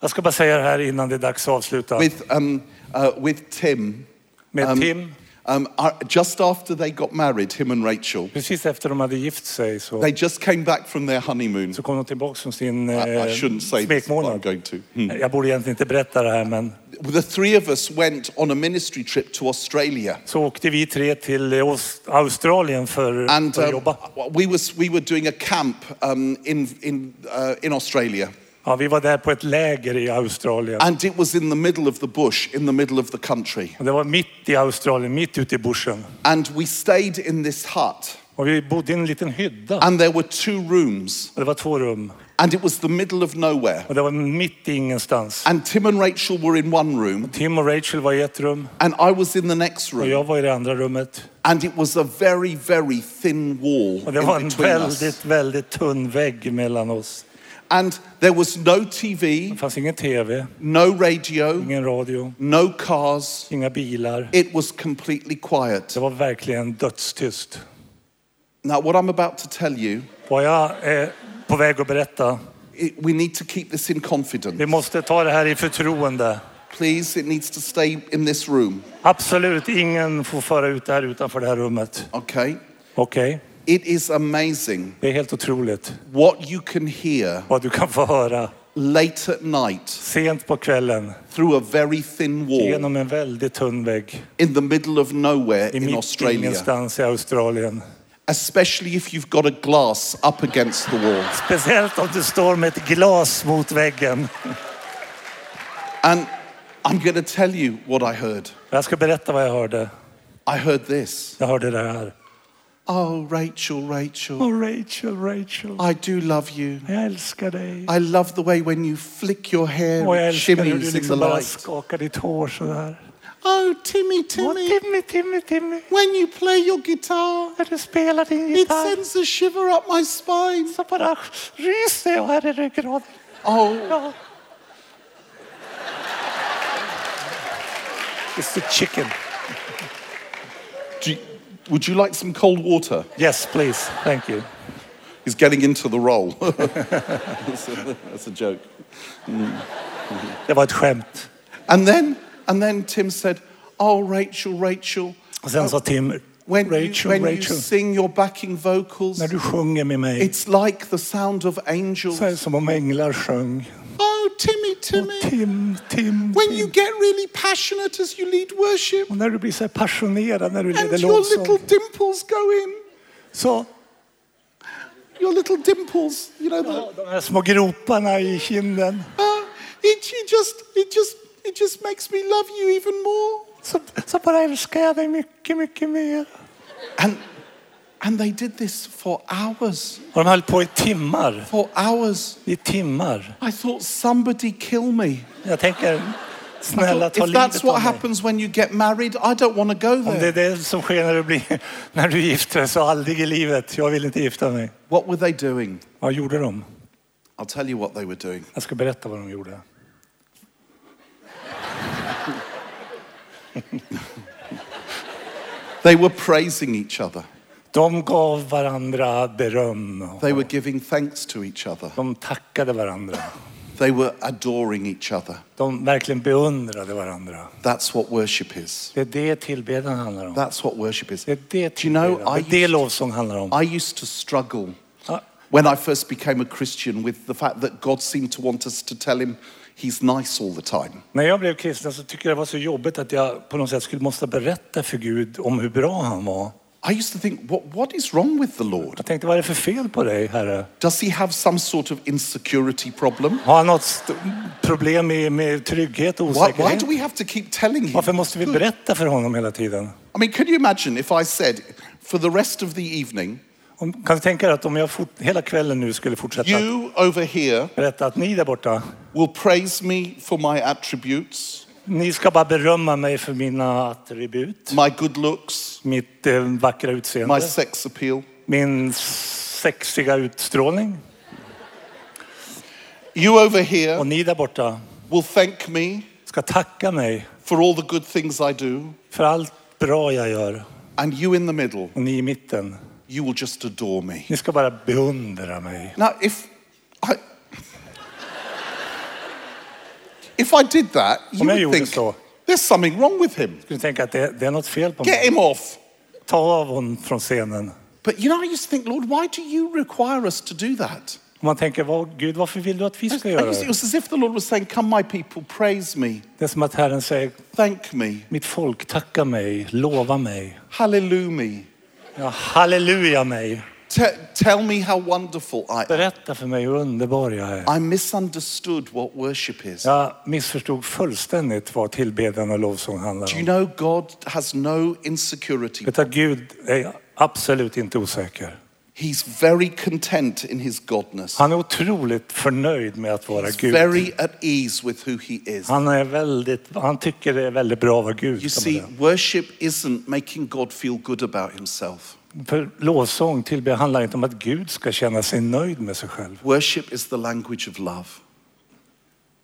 Jag ska bara säga det här innan det är dags att avsluta. With, um, uh, with Tim, Med um, Tim. Um, uh, just after they got married, him and Rachel, Precis efter de hade gift sig så, they just came back from their honeymoon. så kom de tillbaka från sin I, I eh, shouldn't say this, but I'm smekmånad. going to. Hmm. Jag borde egentligen inte berätta det här men The three of us went on a ministry trip to Australia. så åkte vi tre till eh, Aus- Australien för, And för att um, jobba. we, was, we were doing a camp um, in, in, uh, in Australia. Ja, vi var där på ett läger i Australien. And it was in the middle of the bush, in the middle of the country. Och Det var mitt i Australien, mitt ute i bushen. And we stayed in this hut. Och vi bodde i en liten hydda. And there were two rooms. Och Det var två rum. And it was the middle of nowhere. Och det var mitt i ingenstans. And Tim and Rachel were in one room. Tim och Rachel var i ett rum And I was in the next och room. jag var i det andra rummet. And it was a very, very thin wall Och det var in en between us. väldigt, väldigt tunn vägg mellan oss. And there was no Det TV, fanns ingen tv, no radio, ingen radio, no cars. inga bilar. It was completely quiet. Det var verkligen dödstyst. Now, what I'm about to tell you, Vad jag är på väg att berätta. it, we need to keep this in confidence. Vi måste ta det här i förtroende. Please, it needs to stay in this room, Absolut ingen får föra ut det här utanför det här rummet. okay? Okej? It is amazing Det är helt otroligt what you can hear vad du kan få höra late at night sent på kvällen through a very thin wall genom en väldigt tunn vägg in the middle of nowhere i in mitt Australia, ingenstans i Australien. especially if you've got a glass up against the wall. Speciellt om du står med ett glas mot väggen. And I'm going to tell you what I heard. Jag ska berätta vad jag hörde. I heard this. Jag hörde det här. Oh, Rachel, Rachel, Oh Rachel, Rachel. I do love you. Jag älskar dig. I love the way when you flick your hair, Och jag it älskar hur du shimmies in the liksom bara light. skakar ditt hår sådär. Oh, Timmy, Åh Timmy, Timmy, Timmy, Timmy. when you play your guitar, När du spelar din it gitarr sends a shiver up my spine. så bara ryser jag här i ryggraden. Oh, Ja. It's the chicken. do you- would you like some cold water? Yes, please. Thank you. He's getting into the role. that's, a, that's a joke. Det var ett skämt. And then, and then Tim said, "Oh, Rachel, Rachel, Och sen sa Tim, when you, Rachel, when you Rachel, sing your backing vocals, när du sjunger med mig it's like the sound of angels." så är det som om änglar sjöng. Oh, Timmy, Timmy, Och Tim, Tim, when you Tim. get really passionate as you lead worship. Och när du blir så här passionerad när du leder And your little lovsång. dimples go in. Så Your little dimples, you know. The, de här små groparna i kinden. uh, it, it just, it just, it just makes me love you even more. Så, så bara älskar jag dig mycket, mycket mer. And and they did this for hours, Och de höll på i timmar. for hours. I timmar. I thought somebody kill me. Jag tänker, snälla ta If livet that's what av mig. happens when you get married, I don't want to go Om det är there. det som sker när du, blir, när du gifter dig, så aldrig i livet. Jag vill inte gifta mig. What were they doing? Vad gjorde de? I'll tell you what they were doing. Jag ska berätta vad de gjorde. They were praising each other. De gav varandra beröm. They were giving thanks to each other. De tackade varandra. They were adoring each other. De verkligen beundrade varandra. That's what worship is. Det är det tillbedjan handlar om. That's what worship is. Det är det Do you know, tillbedjan. Det I är det used- lovsång handlar om. I used to struggle Ja, when I first became a Christian with the fact that God seemed to want us to tell him he's nice all the time. När jag blev kristen så tyckte jag det var så jobbigt att jag på något sätt skulle måste berätta för Gud om hur bra han var. I used to think, what, what is wrong with the Lord? Jag tänkte, vad är det för fel på dig, Herre? Does he have some sort of insecurity problem? Har han något st- problem med, med trygghet och Why, why osäkerhet? do we have to keep telling him? Varför måste vi berätta för honom hela tiden? I mean, could you imagine if I said, for the rest of the evening, Om, kan du tänka dig att om jag fort, hela kvällen nu skulle fortsätta att you over here berätta att ni där borta, will praise me for my attributes, ni ska bara berömma mig för mina attribut. my good looks, Mitt eh, vackra my utseende, sex appeal. min sexiga utstrålning. You over here Och ni där borta will thank me ska tacka mig for all the good things I do. för allt bra jag gör. And you in the middle, Och ni i mitten, you will just adore me. ni ska bara beundra mig. Now, if I, if I did that, you Om jag would gjorde think så. There's something wrong with him. Skulle tänka att det, det är något fel på Get mig. him off. Ta av honom från scenen. But you know, I used to think, Lord, why do you require us to do that? Och man tänker, vad, Gud varför vill du att vi ska I göra used to- it det? was as if the Lord was saying, Come, my people, praise me, Det är som att Herren säger, thank me, mitt folk, tacka mig, lova mig. hallelujah me, Ja, halleluja mig. Te- tell me how wonderful I am. Berätta för mig hur underbar jag är. I misunderstood what worship is. Jag missförstod fullständigt vad tillbedjan och lovsång handlar Do you om. know God has no insecurity? Vet du att Gud är absolut inte osäker. He's very content in his godness. Han är otroligt förnöjd med att vara He's Gud. very at ease with who he is. Han, är väldigt, han tycker det är väldigt bra att vara Gud. You kan man see, säga. worship isn't making God feel good about himself. För lovsång, tillbedjan handlar inte om att Gud ska känna sig nöjd med sig själv. Worship is the language of love.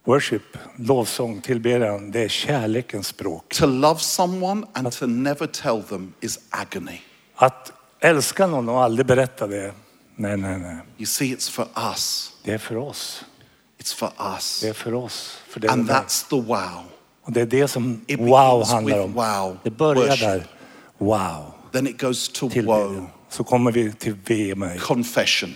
Worship, lovsång, tillbedjan, det är kärlekens språk. To love someone and to never tell them is agony. Att älska någon och aldrig berätta det, nej, nej, nej. You see, it's for us. Det är för oss. It's for us. Det är för oss. För det är And det. that's the wow. Och det är det som It wow begins handlar with om. wow. Det börjar Worship. där. Wow. Then it goes to Tillbedjan. woe, Så kommer vi till ve mig. confession,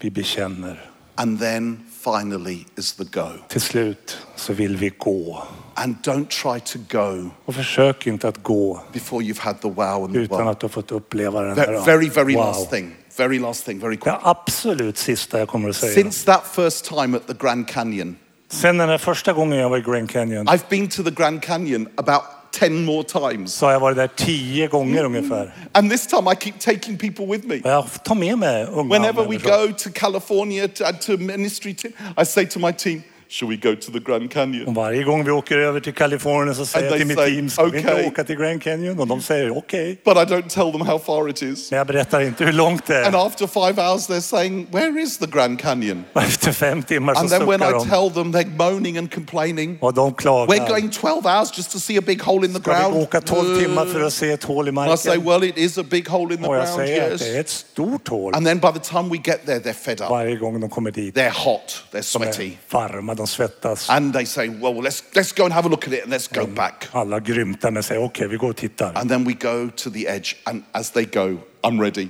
Vi bekänner. and then finally is the go. Till slut så vill vi gå. And don't try to go Och försök inte att gå before you've had the wow and the utan woe. att du har fått uppleva den Ve- här. Very, very wow. last thing. Very last thing, very quick. Det absolut sista jag kommer att säga. Since that first time at the Grand Canyon, Sen den här första gången jag var i Grand Canyon I've been to the Grand Canyon about 10 more times. så har jag varit där tio gånger Mm. ungefär. And this time I keep taking people with me. Och jag tar med mig unga Whenever we människor. go to California to, uh, to ministry team, I say to my team, Shall we go to the Grand Canyon? Och varje gång vi åker över till Kalifornien så säger jag they till mitt say, team, ska vi "Okay." inte åka till Grand Canyon? Och de säger okej. But I don't tell them how far it is. Men jag berättar inte hur långt det And är. after five hours, they're saying, Where is the Grand Canyon? Och efter fem timmar så And then when suckar I de. tell them, they're moaning and complaining. Och de We're klagar. going 12 hours just to see a big hole in the Ska vi ground. åka 12 timmar för att se ett hål i And I say, marken? Well, it is a big hole in the Och jag ground, säger att yes. det är ett stort hål. And then by the time we get there, they're fed up. Varje gång de kommer dit. They're hot, they're De sweaty. är varma, de svettas. And they say, Well, let's, let's go and have a look at it and let's go back. Alla grymtar men säger okej, vi går och tittar. And then we go to the edge, and as they go, I'm ready.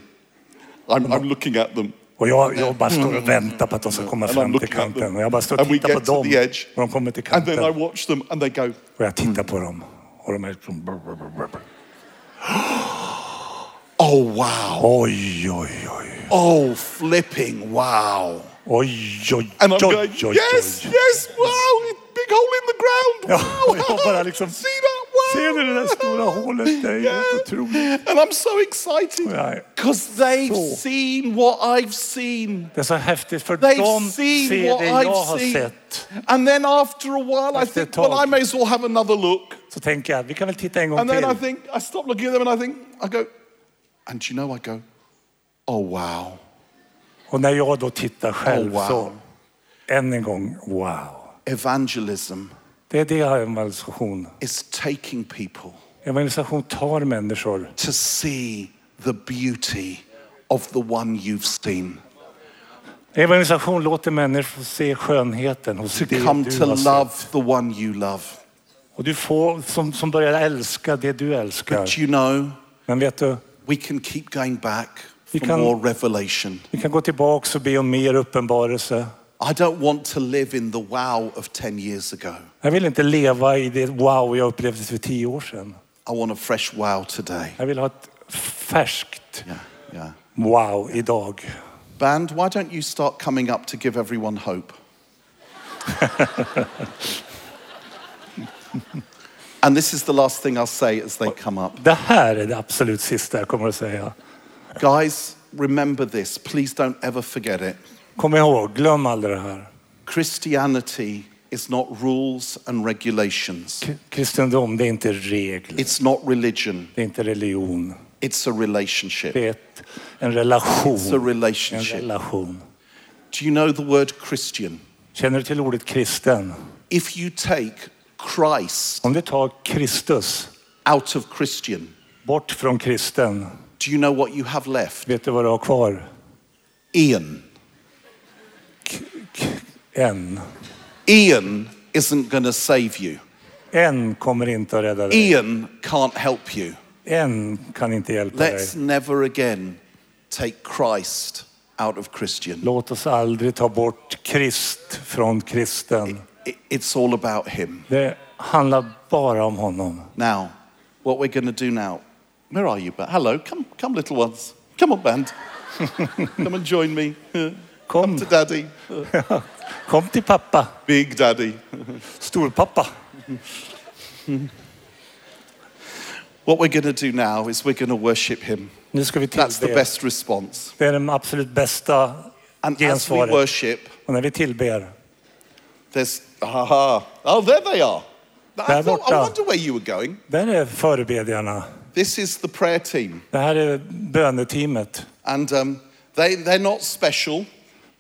I'm, I'm looking at them. Och jag, jag bara står och väntar på att de ska komma Mm. And I'm fram till looking at them. kanten. Och jag bara står och And we tittar på get to dem. the edge. Och de kommer till And then I kanten. watch them, and they go, Och jag tittar på dem. Och de är liksom... Oh, wow. Oj, oj, oj. Oh, flipping wow. Oj, oj, And I'm oj, going, oj, Yes, oj. yes, wow. Big hole in the ground. Ja, Wow. jag bara liksom, See that? Wow. Ser du det där stora hålet? Det är helt otroligt. And I'm so excited Ja, ja. because they've Så. seen what I've seen. Det är så häftigt för They've de seen ser what det jag I've har seen. sett. And then after a while, I Efter ett think, well, tag. I may as well have another look. Så tänker jag, vi kan väl titta en gång And then I till. think, I stop looking at them and I think, I go, and you know, I go, oh, wow. Och när jag då tittar själv Oh, wow. så, än en gång, wow. Evangelism Det är det jag har evangelisation. is taking people Evangelisation tar människor. to see the beauty of the one you've seen, Evangelisation låter människor se skönheten hos to det come du to har love the one you love. sett. Och du får, som, som börjar älska det du älskar. But you know, Men vet du, we can keep going back Vi for kan- more revelation. vi kan gå tillbaka och be om mer uppenbarelse. I don't want to live in the wow of 10 years ago. Jag vill inte leva i det wow jag upplevde för tio år sedan. I want a fresh wow today. Jag vill ha ett färskt Yeah, yeah. wow idag. Band, why don't you start coming up to give everyone hope? and this is the last thing I'll say as they come up. Det här är det absolut sista jag kommer att säga. Guys, remember this. Please don't ever forget it. Kom ihåg, glöm aldrig det här. Christianity is not rules and regulations, K- Kristendom, det är inte regler. it's not religion, Det är inte religion. it's a relationship. Det är ett, en It's a relation. En relationship. relation. Do you know the word Christian? Känner du till ordet kristen? If you take Christ Om du tar Kristus out of Christian, bort från kristen, do you know what you have left? vet du vad du har kvar? Ian. K- k- en. Ian isn't going to save you. En kommer inte att rädda dig. Ian can't help you. En kan inte hjälpa dig. Let's never again take Christ out of Christian. Låt oss aldrig ta bort Krist från kristen. I- It's all about Him. Det handlar bara om honom. Now, what we're going to do now, where are you? But hello, come, come, little ones. Come on, band. come and join me. Kom, to daddy. kom till pappa, Big daddy. storpappa. What we're going to do now is we're going to worship him. Nu ska vi That's the tillbe. best response. Det är den absolut bästa And as we gensvaret. worship, Och när vi tillber, there's, aha, oh, there they are. I, Där thought, I borta. wonder where you were going. där är förebedjarna. This is the prayer team. Det här är böneteamet. And um, they, they're not special.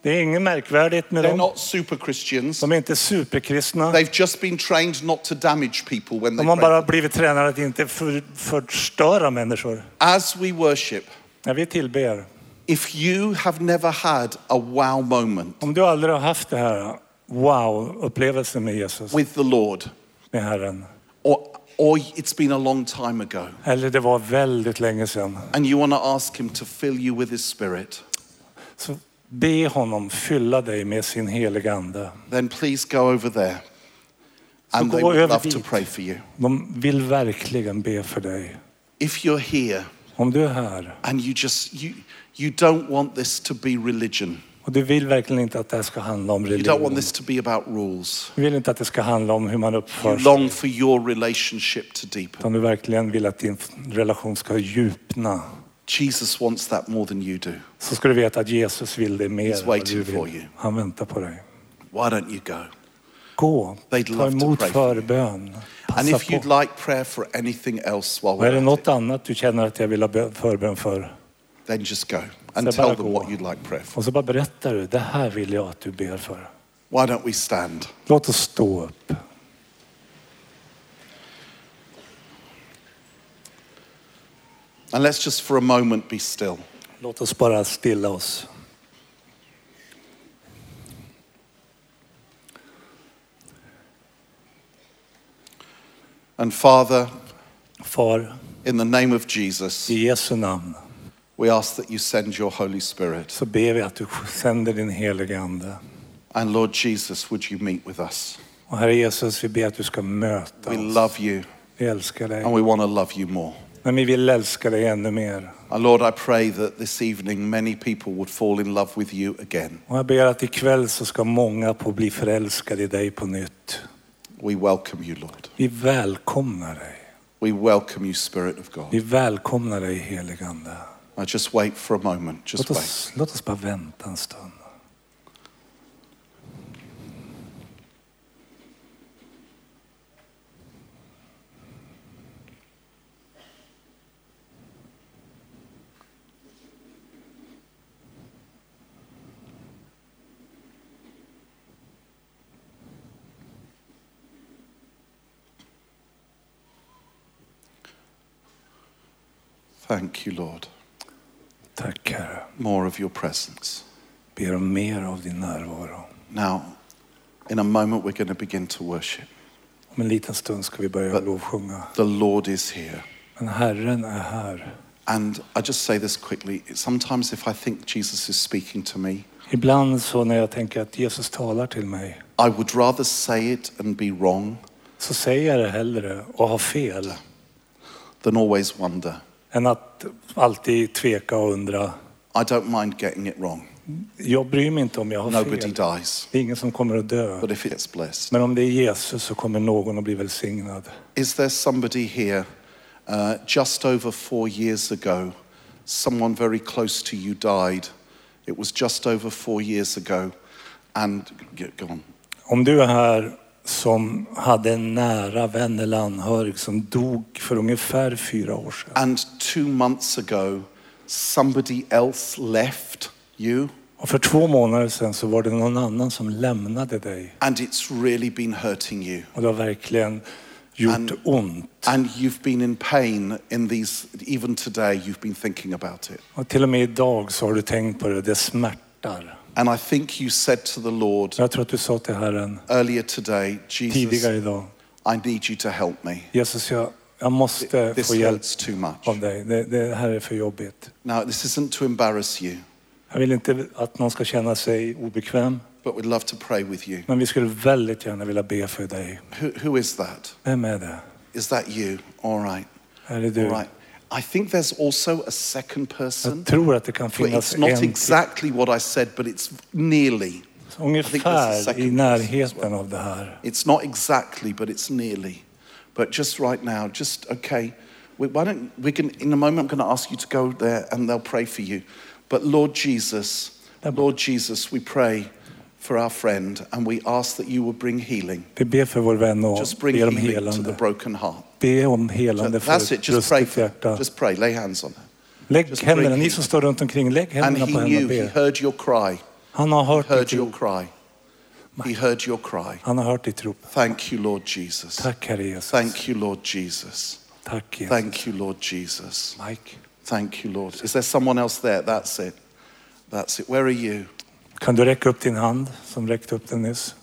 Det är inget märkvärdigt med They're dem. not super Christians. De är inte superkristna. They've just been trained not to damage people when they De har pray. bara blivit tränade att inte för, förstöra människor. As we worship, När vi tillber, if you have never had a wow moment om du aldrig har haft det här wow-upplevelsen med Jesus, with the Lord, med Herren, or, or it's been a long time ago, eller det var väldigt länge sedan, and you want to ask him to fill you with his spirit, så be honom fylla dig med sin heliga ande. then please go over there. And gå they would över love to dit. pray for you. De vill verkligen be för dig. If you're here Om du är här and you just you you don't want this to be religion. och du vill verkligen inte att det här ska handla om You don't want religion. this to be about rules. Du vill inte att det ska handla om hur man You uppför sig. long for your relationship to deepen. Utan du verkligen vill att din relation ska djupna. Jesus wants that more than you do. Så ska du veta att Jesus vill det mer He's än vad du waiting for you. vill. Han väntar på dig. Why don't you go? Gå, They'd ta love to emot pray for förbön. And Passa if you'd på. like prayer for anything else while Och är we're det at it, något annat du känner att jag vill ha bön- förbön för? then just go and Så tell bara them gå. what you'd like prayer for. Och så bara berättar du, det här vill jag att du ber för. Why don't we stand? Låt oss stå upp. And let's just for a moment be still. Låt oss bara stilla oss. And Father, Far, in the name of Jesus, i Jesu namn we ask that you send your Holy Spirit. så ber vi att du sänder din heliga Ande. And Lord Jesus, would you meet with us? Och Herre Jesus, vi ber att du ska möta We oss. love you Vi älskar dig. and we want to love you more. Men vi vill älska dig ännu mer. And Lord, I pray that this evening many people would fall in love with you again. Och jag ber att ikväll så ska många på bli förälskade i dig på nytt. We welcome you, Lord. Vi välkomnar dig. We welcome you, Spirit of Vi God. välkomnar dig heligande. Now just wait for a moment. Just Låt wait. oss, låt oss bara vänta en stund. Thank you, Lord. Tack Herre. More of your presence. Ber om mer av din närvaro. Now, in a moment, we're going to begin to worship. Om en liten stund ska vi börja lovsjunga. The Lord is here. Men Herren är här. And I just say this quickly. Sometimes, if I think Jesus is speaking to me, Ibland så när jag tänker att Jesus talar till mig I would rather say it and be wrong så säger jag det hellre och har fel than always wonder. än att alltid tveka och undra. I don't mind getting it wrong. Jag bryr mig inte om jag har Nobody fel. dies. Det är ingen som kommer att dö. But if it's blessed, Men om det är Jesus så kommer någon att bli välsignad. is there somebody here uh, just over four years ago? Someone very close to you died. It was just over four years ago. And g- go on. Om du är här som hade en nära vän eller anhörig som dog för ungefär fyra år sedan. And two months ago, somebody else left you, Och för två månader sedan så var det någon annan som lämnade dig. and it's really been hurting you. Och det har verkligen gjort And- ont. And you've been in pain in these, even today, you've been thinking about it. Och till och med idag så har du tänkt på det. Det smärtar. And I think you said to the Lord Jag tror att du sa till Herren earlier today, Jesus, tidigare idag. I need you to help me. Jesus, jag, jag måste This få hjälp hurts too much. av dig. Det, det här är för jobbigt. Now, this isn't to embarrass you, Jag vill inte att någon ska känna sig obekväm, but we'd love to pray with you. men vi skulle väldigt gärna vilja be för dig. Who, who is that? Vem är det? Is that you? All right. Är det All du? right. I think there's also a second person, Jag tror att det kan but it's finnas en not till. exactly what I said, but it's nearly. I think there's a ungefär second i person närheten av det här. It's not exactly, but it's nearly. But just right now, just okay. We, why don't we can in a moment? I'm going to ask you to go there, and they'll pray for you. But Lord Jesus, Lord Jesus, we pray for our friend, and we ask that you will bring healing. Vi ber för vår vän och Just bring ber om healing to the helande. broken heart. Be om helande för That's it. ett Just uh, pray brustet for. hjärta. Just pray. Lay hands on her. Lägg just händerna, bring ni healing. som står runt omkring, lägg And händerna he på henne knew. och He be. heard your cry. Han har hört Heard ditt your rop. cry. He heard your cry. Han har hört ditt rop. Thank you, Lord Jesus. Tack Herre Jesus. Thank you, Lord Jesus. Tack Jesus. Thank you, Lord Jesus. Mike, Thank you, Lord. Is there someone else there? That's it. That's it. Where are you? kan du räcka upp din hand som räckte upp den nyss?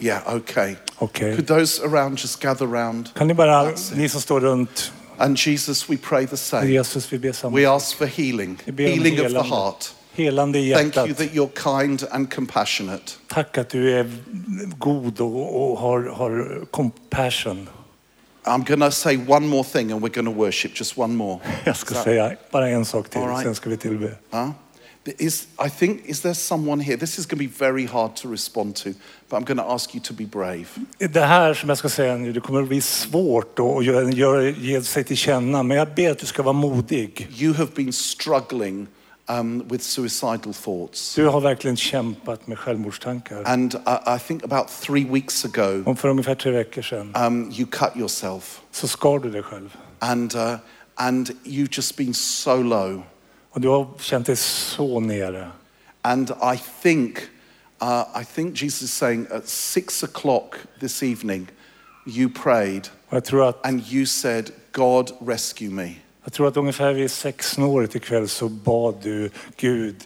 Yeah, okay. Okej. Could those around just gather round? Kan ni bara, That's it. ni som står runt And Jesus, we pray the same. Jesus, vi ber samma. We ask for healing, Vi ber om healing of the helande. heart. Helande i Thank hjärtat. you that you're kind and compassionate. Tack att du är god och, och har, har compassion. I'm going to say one more thing and we're going to worship. Just one more. Jag ska säga bara en sak till, All right. sen ska vi tillbe. Huh? Is, I think, is there someone here? This is going to be very hard to respond to, but I'm going to ask you to be brave. Det här som jag ska säga nu, det kommer att bli svårt då att göra- göra- ge sig till känna. Men jag ber att du ska vara modig. You have been struggling um, with suicidal thoughts. Du har verkligen kämpat med självmordstankar. And uh, I, I think about three weeks ago, Om för ungefär tre veckor sedan um, you cut yourself, så skar du dig själv. and uh, and you've just been so low. Och du har känt dig så nere. And I think, uh, I think Jesus is saying at six o'clock this evening, you prayed Och jag tror att, and you said, "God rescue me." jag tror att ungefär vid sexsnåret ikväll så bad du Gud,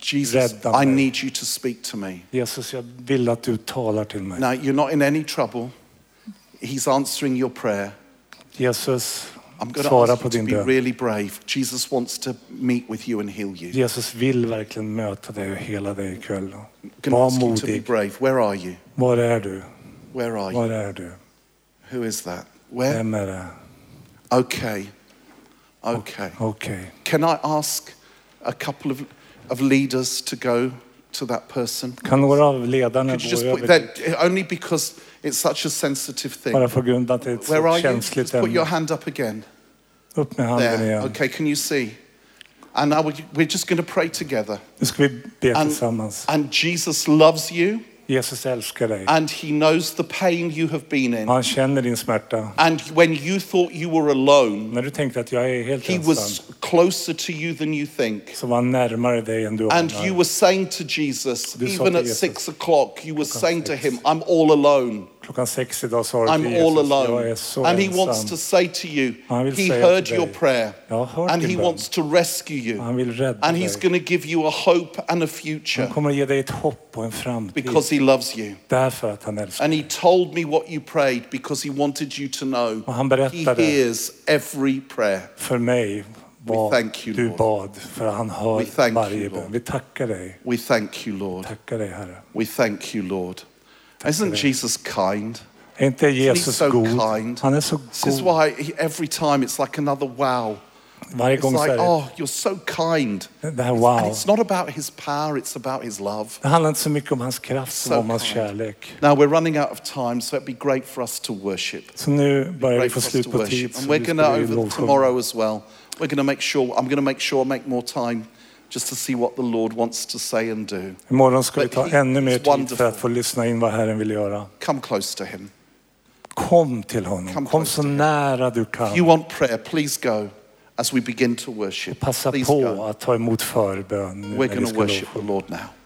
Jesus, Rädda I mig. need you to speak to me. Jesus jag vill att du talar till mig. Now you're not in any trouble. He's answering your prayer. Jesus, I'm going to svara ask på you to din be bön. really brave. Jesus wants to meet with you and heal you. Jesus vill verkligen möta dig och hela dig ikväll. Can I Var ask you to be modig. brave? Where are you? Var är du? Where are you? Var är du? Who is that? Where? Vem är det? Okay. Okay. Okej. Can I ask a couple of, of leaders to go to that person? Kan några av ledarna Could you just gå put över dit? that only because it's such a sensitive thing. Bara för grund att det är ett Where så are you? Just känsligt put your ämne. hand up again. Upp med handen There. igen. Okay, can you see? And now we- we're just going to pray together. Nu ska vi be And- tillsammans. And Jesus loves you, Jesus älskar dig. and He knows the pain you have been in. Han känner din smärta. And when you thought you were alone, När du tänkte att jag är helt He was ensam closer to you than you think. så var han närmare dig än du And you anar. were saying to Jesus, Du sa even till at Jesus. six o'clock, you were saying to sex. him, I'm all alone. Klockan sex idag sa du I'm till all Jesus, jag är alone. så And he wants to ensam. say to you, Han vill he säga heard till your dig, prayer. "Jag har hört And din he bön." wants to rescue you. Han vill rädda And he's dig. going to give you a hope and a future Han kommer att ge dig ett hopp och en framtid. because he loves you. Därför att han älskar And dig. he told me what you prayed because he wanted you to Och han know he berättade. hears every prayer. För mig We vad thank you, du Lord. bad. För han We thank hör you, varje bön. Lord. Vi tackar dig. We thank you, Lord. Tackar dig Herre. We thank you, Lord. Isn't Jesus kind? Är inte Jesus so god? kind? Han är så This is god. why he- every time it's like another wow. Varje It's gång så like, är det, oh, you're so kind. det här And wow. it's not about his power, it's about his love. Det handlar inte så mycket om hans kraft so som om hans kind. kärlek. Now we're running out of time, so it'd be great for us to worship. Så nu börjar vi Great få for us to slut på tid. worship. And så we're vi going to, ska ju over lovsjunga. tomorrow as well, we're going to make sure, I'm going to make sure I make more time just to see what the Lord wants to say and do. Imorgon ska vi But ta he ännu is mer tid för wonderful. att få lyssna in vad Herren vill göra. Come close to him. Kom till Come honom. Kom close så nära du If you kan. want prayer, please go as we begin to worship. Passa Please på go. att ta emot förbön nu We're när vi going to ska worship the lovsjunga. uh, Lord now.